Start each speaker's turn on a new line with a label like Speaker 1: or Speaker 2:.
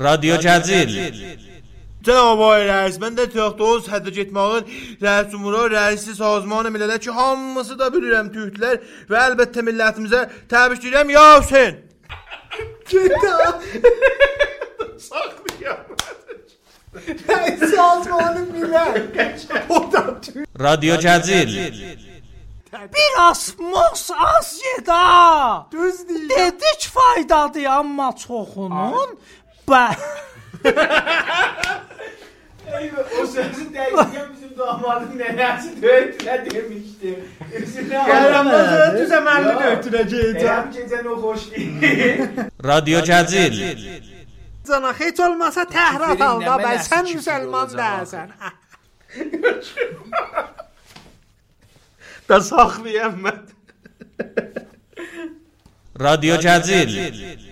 Speaker 1: Radyo Cəzil.
Speaker 2: Cənab Vay Rəis, mən də Teoxdos həddə getməyin rəis umura, rəisi sazman millədə ki, hamısı da bilirəm türklər və əlbəttə millətimizə təbrik edirəm. Ya Hüseyn!
Speaker 3: سازمان ملل
Speaker 1: Radyo Cəzil.
Speaker 4: Bir asmos Asya'da.
Speaker 3: Düz değil.
Speaker 4: Dedik faydadır amma çoxunun. Bə
Speaker 5: O sözü derken bizim damadın nenesi dövdüler demişti. Üzüne
Speaker 3: Bayram
Speaker 5: ağlamak.
Speaker 3: Nazır'a düz emelli döktüreceğim.
Speaker 5: Hem gecen o hoş değil.
Speaker 1: Radyo Cəzil.
Speaker 3: Sana hiç olmasa Tehran
Speaker 5: Küfürün
Speaker 3: alda
Speaker 5: ne
Speaker 3: ben
Speaker 5: melesi
Speaker 3: sen
Speaker 5: küfür
Speaker 3: Müslüman
Speaker 5: olacak.
Speaker 3: değilsen.
Speaker 2: Bəs saxlayam mən.
Speaker 1: Radyo Cəzil.